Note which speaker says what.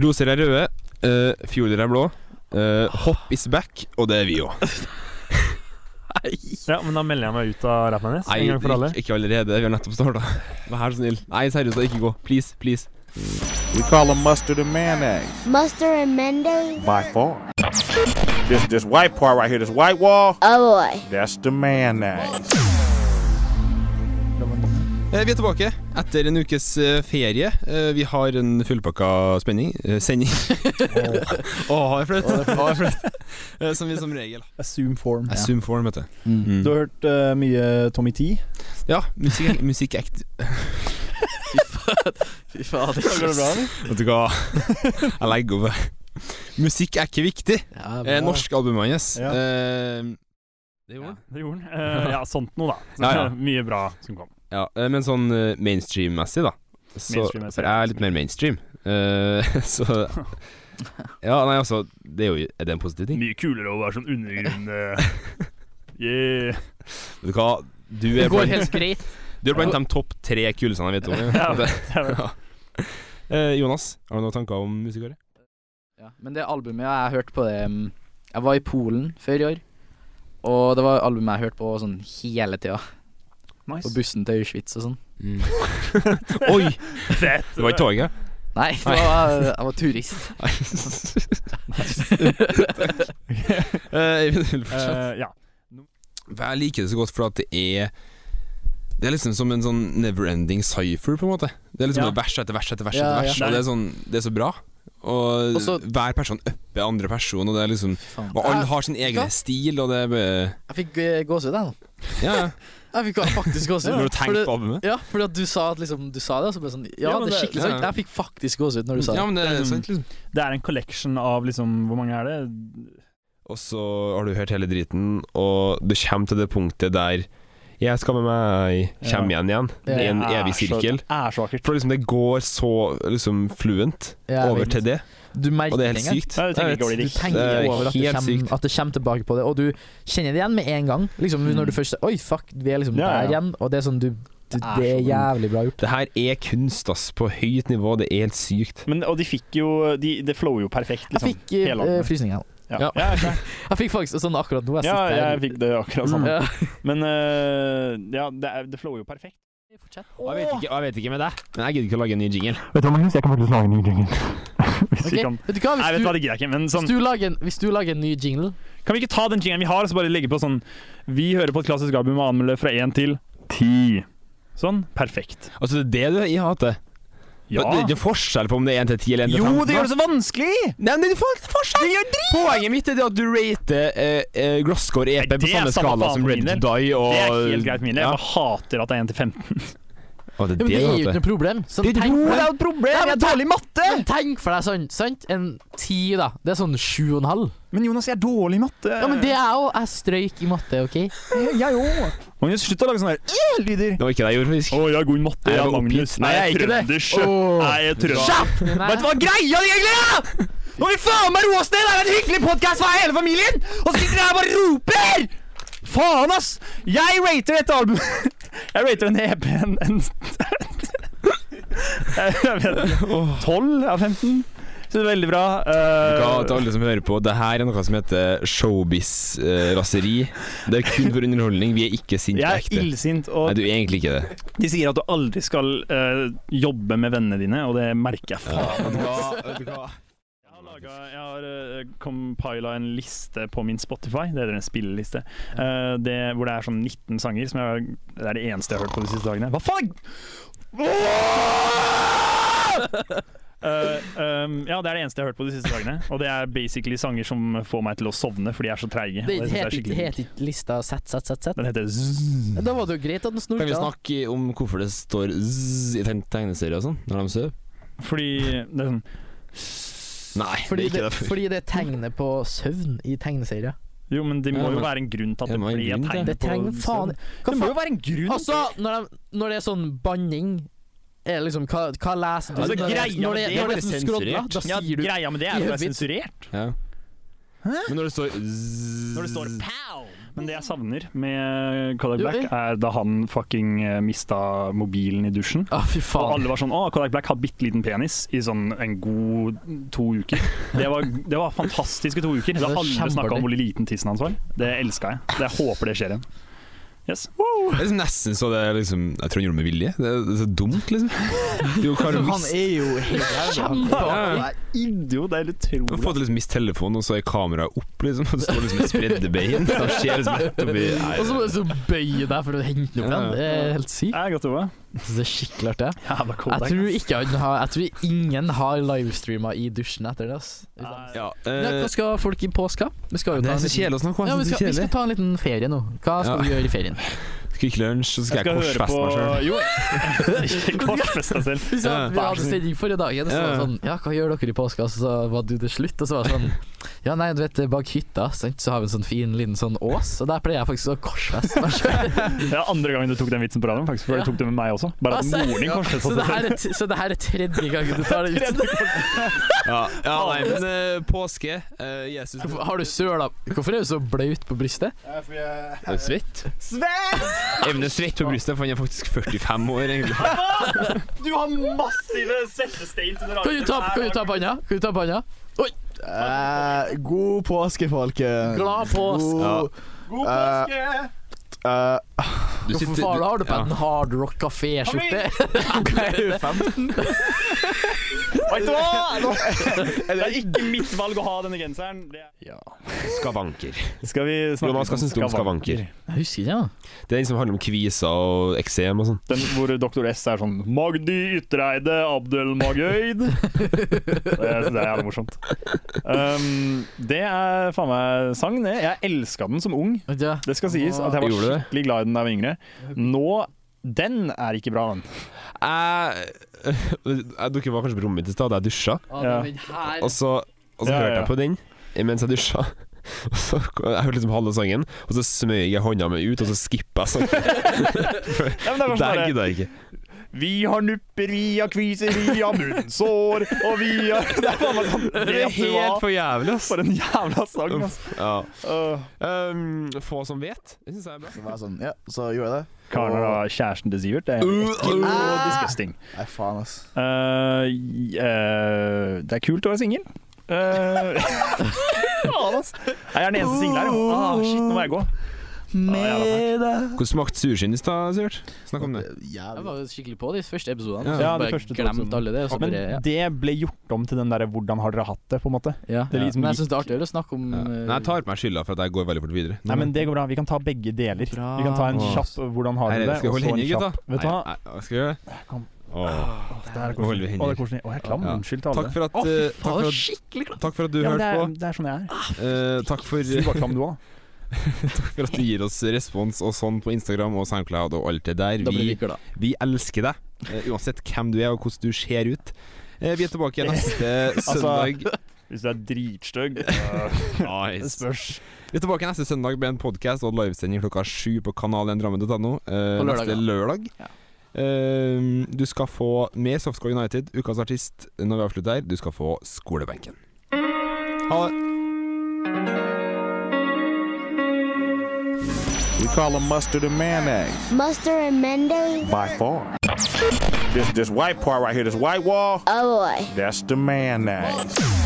Speaker 1: Roser er røde, eh, fjoler er blå. eh, hopp is back, og det er vi òg.
Speaker 2: Ja, men da melder jeg meg ut av rappen hennes en gang for alle.
Speaker 1: ikke, ikke allerede. Vi har nettopp starta. Vær så snill. Nei, seriøst, da, ikke gå. Please, please.
Speaker 3: We call them mustard and mayonnaise
Speaker 4: Mustard and Mendes?
Speaker 3: by far. This this white part right here, this white wall,
Speaker 4: Oh boy.
Speaker 3: that's the mayonnaise.
Speaker 1: Eh, Vi er tilbake etter en ukes eh, ferie. Eh, Vi har en fullpakka spenning eh, sending. Å, har jeg flaut? Har jeg flaut? Eh, Som vi som regel har.
Speaker 5: Assume form.
Speaker 1: Jeg zoom form, vet du.
Speaker 5: Mm.
Speaker 1: Mm.
Speaker 5: Du har hørt eh, mye Tommy T?
Speaker 1: Ja, musikk, musikk er ekte.
Speaker 6: Fy fader. Går det bra, eller?
Speaker 1: Vet du hva? Jeg legger over. Musikk er ikke viktig.
Speaker 6: Ja, bra.
Speaker 1: Eh, Norske albumet hans.
Speaker 5: Ja.
Speaker 1: Eh, Det gjorde han.
Speaker 2: Det gjorde han. Eh, ja, sånt noe, da. Så,
Speaker 1: Ja, ja.
Speaker 2: Mye bra som kom.
Speaker 1: Ja, eh, men sånn eh, mainstream-messig, da. Så,
Speaker 2: Mainstream-messig,
Speaker 1: for jeg er litt mer mainstream. Eh, så Ja, nei, altså Det er jo er det en positiv ting.
Speaker 2: Mye kulere å være sånn undergrunn... eh. Yeah.
Speaker 1: Vet du hva? Du
Speaker 6: Det
Speaker 1: er
Speaker 6: går
Speaker 1: blant,
Speaker 6: helt greit.
Speaker 1: du er blant de topp tre kulesene jeg vet om.
Speaker 2: Ja,
Speaker 1: Det-
Speaker 2: jeg vet.
Speaker 1: ja. Eh, Jonas, har du noen tanker om musikkåret?
Speaker 6: Ja, men det albumet jeg har hørt på det mm, Jeg var i Polen før i år, og det var albumet jeg hørte på sånn hele tida. På
Speaker 2: Nice.
Speaker 6: bussen til Auschwitz og sånn.
Speaker 1: Oi!
Speaker 2: Fett.
Speaker 1: Det var ikke toget.
Speaker 6: Nei, det var, jeg var turist.
Speaker 1: Eh, fortsett.
Speaker 2: Eh, ja.
Speaker 1: Jeg liker det så godt for at det er Det er liksom som en sånn never-ending cypher, på en måte. Det er liksom
Speaker 2: Ja.
Speaker 1: bare vers etter vers etter vers,
Speaker 6: Ja,
Speaker 1: etter
Speaker 6: ja.
Speaker 1: vers og det er, sånn, det er så bra. Og
Speaker 6: Og så-
Speaker 1: hver person upper andre person, og det er liksom
Speaker 6: Faen.
Speaker 1: Og alle
Speaker 6: Jeg,
Speaker 1: har sin egen
Speaker 6: hva?
Speaker 1: stil, og det er bare
Speaker 6: jeg fikk eh, gåsehud, jeg nå.
Speaker 1: Ja, ja.
Speaker 6: Jeg fikk faktisk gåsehud.
Speaker 1: Når du tenker
Speaker 6: Fordi-
Speaker 1: på albumet.
Speaker 6: Ja, fordi at du sa at liksom, du sa det, og så ble det sånn Ja,
Speaker 2: Ja, men
Speaker 6: det er
Speaker 2: det-
Speaker 6: skikkelig
Speaker 1: ja,
Speaker 6: sant.
Speaker 1: ja.
Speaker 6: Jeg fikk faktisk gåsehud når du sa det.
Speaker 1: Ja, men det er
Speaker 2: Mm.
Speaker 1: sant, liksom.
Speaker 2: Det er en collection av liksom Hvor mange er det?
Speaker 1: Og så har du hørt hele driten, og du kommer til det punktet der Jeg skal med meg
Speaker 2: Ja.
Speaker 1: Kjem igjen igjen.
Speaker 6: Det
Speaker 1: I en
Speaker 2: er
Speaker 1: evig
Speaker 2: så-
Speaker 1: sirkel.
Speaker 2: Er så vakkert.
Speaker 1: For liksom det går så liksom fluent
Speaker 6: Ja, jeg
Speaker 1: over
Speaker 6: vet.
Speaker 1: til det,
Speaker 6: Du merker
Speaker 1: og det er helt
Speaker 6: engang.
Speaker 1: sykt.
Speaker 2: Ja, du tenker
Speaker 1: Jeg
Speaker 2: ikke over
Speaker 1: vet.
Speaker 2: det
Speaker 6: Du
Speaker 1: Det
Speaker 2: riktig.
Speaker 6: tenker
Speaker 1: er
Speaker 6: over at det,
Speaker 1: helt sykt.
Speaker 6: kommer, at det kommer tilbake på det, og du kjenner det igjen med en gang. Liksom
Speaker 1: Mm.
Speaker 6: Når du først Oi, fuck, vi er liksom
Speaker 2: Ja, ja.
Speaker 6: der igjen. Og det er sånn du, du er Det er sånn. jævlig bra gjort.
Speaker 1: Det her er kunst, ass, på høyt nivå. Det er helt sykt.
Speaker 2: Men, og de fikk jo de, Det flower jo perfekt,
Speaker 6: Jeg
Speaker 2: liksom.
Speaker 6: fikk eh,
Speaker 2: hele albumet.
Speaker 6: eh, frysninger.
Speaker 2: Ja,
Speaker 1: Ja.
Speaker 2: ja. ja,
Speaker 6: Jeg fikk faktisk sånn akkurat nå. Jeg
Speaker 2: ja
Speaker 6: sitter her. Mm.
Speaker 2: jeg fikk det akkurat samme.
Speaker 6: Ja.
Speaker 2: Men eh, ja, det, er- det flower jo perfekt.
Speaker 1: Jeg vet, ikke, jeg vet ikke med deg, men jeg gidder ikke å lage en ny jingle.
Speaker 2: Vet du hva, Magnus, jeg kan faktisk lage en ny jingle. Hvis
Speaker 6: Ok,
Speaker 2: vi kan
Speaker 6: Vet
Speaker 2: Nei, vet du
Speaker 6: du hva, hvis
Speaker 2: hva, det
Speaker 6: du,
Speaker 2: gidder jeg ikke. Men sånn,
Speaker 6: hvis du, lager, en, hvis du lager en ny jingle
Speaker 2: kan vi ikke ta den jingelen vi har, og så bare legge på sånn Vi hører på et klassisk album og anmelder fra én til ti. Sånn. Perfekt.
Speaker 1: Altså, det er det du jeg hater.
Speaker 2: Ja.
Speaker 1: Det er ikke forskjell på om det er 1 til 10 eller 1 til 15.
Speaker 2: Jo, det gjør det så vanskelig!
Speaker 1: Nei, men det er for- forskjell! Poenget mitt er det at du rater eh, eh, Glasscore EP
Speaker 2: Nei,
Speaker 1: på
Speaker 2: det er
Speaker 1: samme
Speaker 2: samme
Speaker 1: skala
Speaker 2: faen
Speaker 1: som
Speaker 2: for
Speaker 1: Ready
Speaker 2: min
Speaker 1: to Die og
Speaker 2: Det er helt greit, Mille.
Speaker 1: Ja.
Speaker 2: Jeg bare hater at det er 1 til 15.
Speaker 1: Å, det
Speaker 6: ja,
Speaker 1: er det
Speaker 6: men Det
Speaker 1: du
Speaker 6: er jo ikke
Speaker 1: hater.
Speaker 6: noe problem. Sånn,
Speaker 1: Det er
Speaker 6: tenk
Speaker 1: jo-
Speaker 6: for
Speaker 1: det
Speaker 6: deg-
Speaker 1: et problem!
Speaker 6: Nei, men ta-
Speaker 1: dårlig i matte!
Speaker 6: men tenk for deg sånn, sant? En ti, da. Det er sånn sju og en halv.
Speaker 2: Men Jonas, jeg er dårlig i matte.
Speaker 6: Ja, men det er jeg òg. Jeg strøyk i matte, OK?
Speaker 2: Jeg òg. Magnus, slutt å lage sånne der «æ»-lyder.
Speaker 1: Det var ikke det jeg gjorde,
Speaker 2: Å,
Speaker 1: faktisk.
Speaker 2: jeg er god i matte.
Speaker 1: Nei,
Speaker 2: Jeg
Speaker 1: jeg
Speaker 2: er
Speaker 1: var
Speaker 2: Magnus.
Speaker 1: oppgitt. Nei, jeg er ikke det.
Speaker 2: trønder, sjø. Nei, jeg er trønder.
Speaker 6: Vet
Speaker 1: hva greia di egentlig er?! Nå vil faen meg roe oss ned! Det er en hyggelig podkast for hele familien!
Speaker 2: Og sitter jeg bare roper! Faen, ass! Jeg rater dette albumet Jeg rater en EP en, en Jeg vet ikke. 12 av 15. Så det er veldig bra.
Speaker 1: Hva, til
Speaker 2: Eh,
Speaker 1: alle som hører på, det her er noe som heter showbiz-raseri. det er kun for underholdning. Vi er ikke sinte på
Speaker 2: jeg er
Speaker 1: ekte.
Speaker 2: illsint,
Speaker 1: Nei,
Speaker 2: og
Speaker 1: du er egentlig ikke det.
Speaker 2: de sier at du aldri skal eh, jobbe med vennene dine, og det merker jeg faen. Jeg har, laget, jeg har eh, compila en liste på min Spotify, det heter en spilleliste, eh, det, hvor det er sånn 19 sanger som jeg, har- det er det eneste jeg har hørt på de siste dagene. Hva faen?! Eh, um, ja, det er det eneste jeg har hørt på de siste dagene. Og det er basically sanger som får meg til å sovne, for de er så treige. og
Speaker 6: Det
Speaker 2: jeg synes er
Speaker 6: heter
Speaker 2: skikkelig-
Speaker 6: ikke het ikke lista sett, sett, sett, sett.
Speaker 2: Den heter Zzz.
Speaker 6: Da var det jo greit at den
Speaker 1: Kan vi
Speaker 6: snorka.
Speaker 1: snakke om hvorfor det står zzz i tegn- tegneserier og sånn, når de sover?
Speaker 2: Fordi det er sånn
Speaker 1: Nei,
Speaker 6: Fordi
Speaker 1: det
Speaker 6: det,
Speaker 1: er ikke det.
Speaker 6: fordi det tegner på søvn i tegneserier.
Speaker 2: Jo, men det
Speaker 1: Ja,
Speaker 2: må jo
Speaker 1: men-
Speaker 2: være en grunn til at
Speaker 1: Ja,
Speaker 2: det
Speaker 1: men
Speaker 2: ble
Speaker 1: grunn til
Speaker 2: tegn
Speaker 1: det.
Speaker 6: Det trenger faen Hva
Speaker 2: Det må jo
Speaker 6: faen?
Speaker 2: være en grunn!
Speaker 6: Altså, når, de, når det er sånn banning er det liksom, hva, hva leser du?
Speaker 2: Altså,
Speaker 6: når,
Speaker 2: greia med
Speaker 6: når det,
Speaker 2: det
Speaker 6: når
Speaker 2: er
Speaker 6: det
Speaker 1: bare
Speaker 6: er sånn
Speaker 1: sensurert.
Speaker 6: skrodla, da
Speaker 2: ja,
Speaker 6: sier du
Speaker 2: greia med det er jo at det er
Speaker 6: Jøvits.
Speaker 2: sensurert.
Speaker 1: Ja. Men når det står zzz
Speaker 2: Når det står pow! Men det jeg savner med Kodak
Speaker 7: Du,
Speaker 2: Black, er da han fucking eh, mista mobilen i dusjen.
Speaker 7: Å, fy
Speaker 2: Og
Speaker 7: faen.
Speaker 2: alle var sånn 'Å, Kodak Black har bitte liten penis' i sånn en god to uker. Det var, det var fantastiske to uker. Da
Speaker 7: Det er
Speaker 2: alle snakka
Speaker 7: kjempeartig.
Speaker 2: om hvor liten tissen hans var. Det elska jeg. Det jeg håper det skjer igjen. Yes.
Speaker 1: Det er liksom nesten så det er liksom Jeg tror han gjorde det med vilje. Det er, det er så dumt, liksom. Jo, hva har du
Speaker 6: Han
Speaker 1: visst?
Speaker 6: er jo helt jævla.
Speaker 1: Ja, ja.
Speaker 2: Idiot, det er
Speaker 1: Du får til liksom mist telefonen, og så er kameraet opp, liksom. Og det står liksom et spreddebein. Da skjer liksom rett oppi Nei,
Speaker 6: Og så må du så bøye deg for å hente den opp
Speaker 1: Ja, ja.
Speaker 6: igjen. Det er helt sykt.
Speaker 2: Jeg er godt over.
Speaker 6: Jeg synes Det er skikkelig artig. jeg.
Speaker 2: Jævla
Speaker 6: Jeg
Speaker 2: Kodak.
Speaker 6: tror, ikke han har, jeg tror ingen har livestreama i dusjen etter det. ass.
Speaker 2: Nei.
Speaker 1: Ja,
Speaker 6: Ja,
Speaker 1: eh,
Speaker 6: hva skal folk i påska? Vi skal jo
Speaker 1: det er
Speaker 6: ta en
Speaker 1: så
Speaker 6: liten,
Speaker 1: kjedelig å snakke om.
Speaker 6: ja, vi,
Speaker 1: Jeg synes det
Speaker 6: skal, vi
Speaker 1: er
Speaker 6: skal
Speaker 1: kjedelig.
Speaker 6: ta en liten ferie nå. Hva skal
Speaker 1: Ja.
Speaker 6: vi gjøre i ferien?
Speaker 1: Kvikke Lunsj, så skal
Speaker 2: Jeg
Speaker 1: jeg
Speaker 2: skal høre på
Speaker 1: korsfeste meg sjøl.
Speaker 2: Jo, ikke korsfeste deg selv.
Speaker 6: Vi, sa,
Speaker 1: Ja.
Speaker 6: vi hadde sending forrige dagen, og så var
Speaker 1: Ja.
Speaker 6: det sånn Ja, hva gjør dere i påska? Og så var du til slutt, og så var det sånn Ja, nei, du vet, bak hytta sant, så har vi en sånn fin liten sånn ås, og der pleier jeg faktisk å korsfeste meg sjøl.
Speaker 2: Det er andre gangen du tok den vitsen på radioen, faktisk. For
Speaker 6: Ja.
Speaker 2: du tok den med meg også. Bare at
Speaker 6: Altså,
Speaker 2: moren din
Speaker 6: ja. Så
Speaker 2: korsfesta
Speaker 6: det
Speaker 2: seg
Speaker 6: her
Speaker 2: selv.
Speaker 6: er, t- så det her er tredje gangen du tar det ut.
Speaker 1: Ja, ja, nei, men eh, påske eh, Jesus
Speaker 6: Hvorfor- Har du søla Hvorfor er du så blaut på brystet?
Speaker 1: Er du svett? Svett! Even er svett på brystet, for han er faktisk 45 år, egentlig.
Speaker 2: Du har massive svettestein under
Speaker 6: Kan du ta kan du ta på hånda? Kan du ta på hånda?
Speaker 8: Eh, god påske, folket.
Speaker 6: Glad påske.
Speaker 8: God,
Speaker 2: God
Speaker 8: påske! eh,
Speaker 1: Du
Speaker 6: Hvorfor faen har du på en hard rock kafé-skjorte?
Speaker 2: Vet du hva? Det er ikke mitt valg å ha denne genseren. Det er...
Speaker 1: Skavanker.
Speaker 2: Skal vi snakke
Speaker 1: Jonas, hva syns du om skavanker?
Speaker 6: Jeg husker ikke, ja.
Speaker 1: Det er den som handler om kviser og eksem og sånn.
Speaker 2: Den hvor doktor S er sånn Magdi Ytreide Abdel Magøyd. Det synes jeg er jævlig morsomt. Um, det er faen meg sang, det. Jeg elska den som ung.
Speaker 6: Vet du hva?
Speaker 2: Det skal sies at jeg var
Speaker 1: Gjorde du det?
Speaker 2: skikkelig glad i den da jeg var yngre. Nå Den er ikke bra, den.
Speaker 1: Jeg, jeg Dere var kanskje på rommet mitt i stad, da jeg dusja.
Speaker 6: Å,
Speaker 2: Ja.
Speaker 6: den her-
Speaker 1: Og så, og så
Speaker 2: Ja, ja,
Speaker 1: hørte
Speaker 2: ja.
Speaker 1: jeg på den mens jeg dusja. Og så, jeg hørte liksom halve sangen, og så smøg jeg hånda mi ut, og så skippa jeg sangen.
Speaker 2: Ja, men det er kanskje
Speaker 1: Der
Speaker 2: bare- sånn
Speaker 1: gidda jeg ikke.
Speaker 2: Vi har nupper, vi har kviser, vi har munnsår, og vi har Det er faen meg sånn vet du hva?
Speaker 1: for jævlig, ass.
Speaker 2: For en jævla sang, ass.
Speaker 1: Ja.
Speaker 2: Uh,
Speaker 1: Um, få som vet. Det syns jeg er bra.
Speaker 8: det var sånn, ja, så gjorde jeg det.
Speaker 2: Karen er da kjæresten til Sivert. Det er ekkelt og disgusting.
Speaker 8: Nei, faen, ass.
Speaker 2: Uh, j- uh, det er kult å være singel. Uh, faen, ass. Jeg er den eneste single her, jo. Ah, shit, nå må jeg gå. Med
Speaker 1: Hvordan smakte surskinn i stad, Sivert? Snakk om det.
Speaker 6: Jeg
Speaker 8: Jævlig.
Speaker 6: var jo skikkelig på de første episodene.
Speaker 1: Ja.
Speaker 6: så
Speaker 2: Ja, de
Speaker 6: bare
Speaker 2: første to
Speaker 6: glemt
Speaker 2: episodene.
Speaker 6: alle det. Og så
Speaker 2: Men
Speaker 6: bare, ja.
Speaker 2: det ble gjort om til den derre 'hvordan har dere hatt det', på en måte.
Speaker 6: Ja.
Speaker 2: det er liksom
Speaker 6: Men jeg
Speaker 2: lik-
Speaker 6: syns det er artigere å snakke om
Speaker 1: Ja.
Speaker 6: eh,
Speaker 1: Nei, jeg tar på meg skylda for at jeg går veldig fort videre.
Speaker 2: Nei, men det går bra. Vi kan ta begge deler.
Speaker 6: Bra.
Speaker 2: Vi kan ta en kjapp 'hvordan har
Speaker 1: Nei,
Speaker 2: dere
Speaker 1: nei,
Speaker 2: det',
Speaker 1: skal jeg
Speaker 2: og
Speaker 1: holde
Speaker 2: så en
Speaker 1: henne,
Speaker 2: kjapp
Speaker 1: gutta?
Speaker 2: 'vet du hva'.
Speaker 1: Nei, nei, skal vi gjøre det?
Speaker 2: Kom.
Speaker 1: Åh.
Speaker 2: Der
Speaker 1: Nå holder vi
Speaker 2: Å, det
Speaker 1: hender.
Speaker 2: er koselig. Å, jeg er klam.
Speaker 1: Ja.
Speaker 2: Unnskyld til alle.
Speaker 1: Takk for at,
Speaker 6: Å, fy
Speaker 1: eh, takk
Speaker 6: faen,
Speaker 1: for at,
Speaker 6: skikkelig glad!
Speaker 1: takk for at du
Speaker 2: Ja, men det,
Speaker 1: hørte
Speaker 2: er, det er sånn jeg er.
Speaker 1: på. Eh, takk,
Speaker 2: Du
Speaker 1: for,
Speaker 2: var klam, du òg.
Speaker 1: takk for at du gir oss respons og sånn på Instagram og SoundCloud og alt det der.
Speaker 6: Da blir
Speaker 1: Vi,
Speaker 6: vi glad.
Speaker 1: vi elsker deg, eh, uansett hvem du er og hvordan du ser ut. Eh, vi er tilbake neste
Speaker 2: Altså,
Speaker 1: søndag.
Speaker 2: Hvis du er dritstygg,
Speaker 1: Nice.
Speaker 2: spørs.
Speaker 1: Vi er tilbake neste søndag med en podkast og livesending klokka sju på kanalen.drammen.no. eh,
Speaker 6: På lørdag,
Speaker 1: neste
Speaker 6: ja.
Speaker 1: lørdag.
Speaker 6: Ja.
Speaker 1: Eh, du skal få mer Softscore United, ukas artist, når vi avslutter her. Du skal få Skolebenken. Ha det.
Speaker 3: We call him mustard and mayonnaise
Speaker 4: Mustard and Monday.
Speaker 3: by far. This this white part right here, this white wall,
Speaker 4: Oh boy.
Speaker 3: that's the mayonnaise.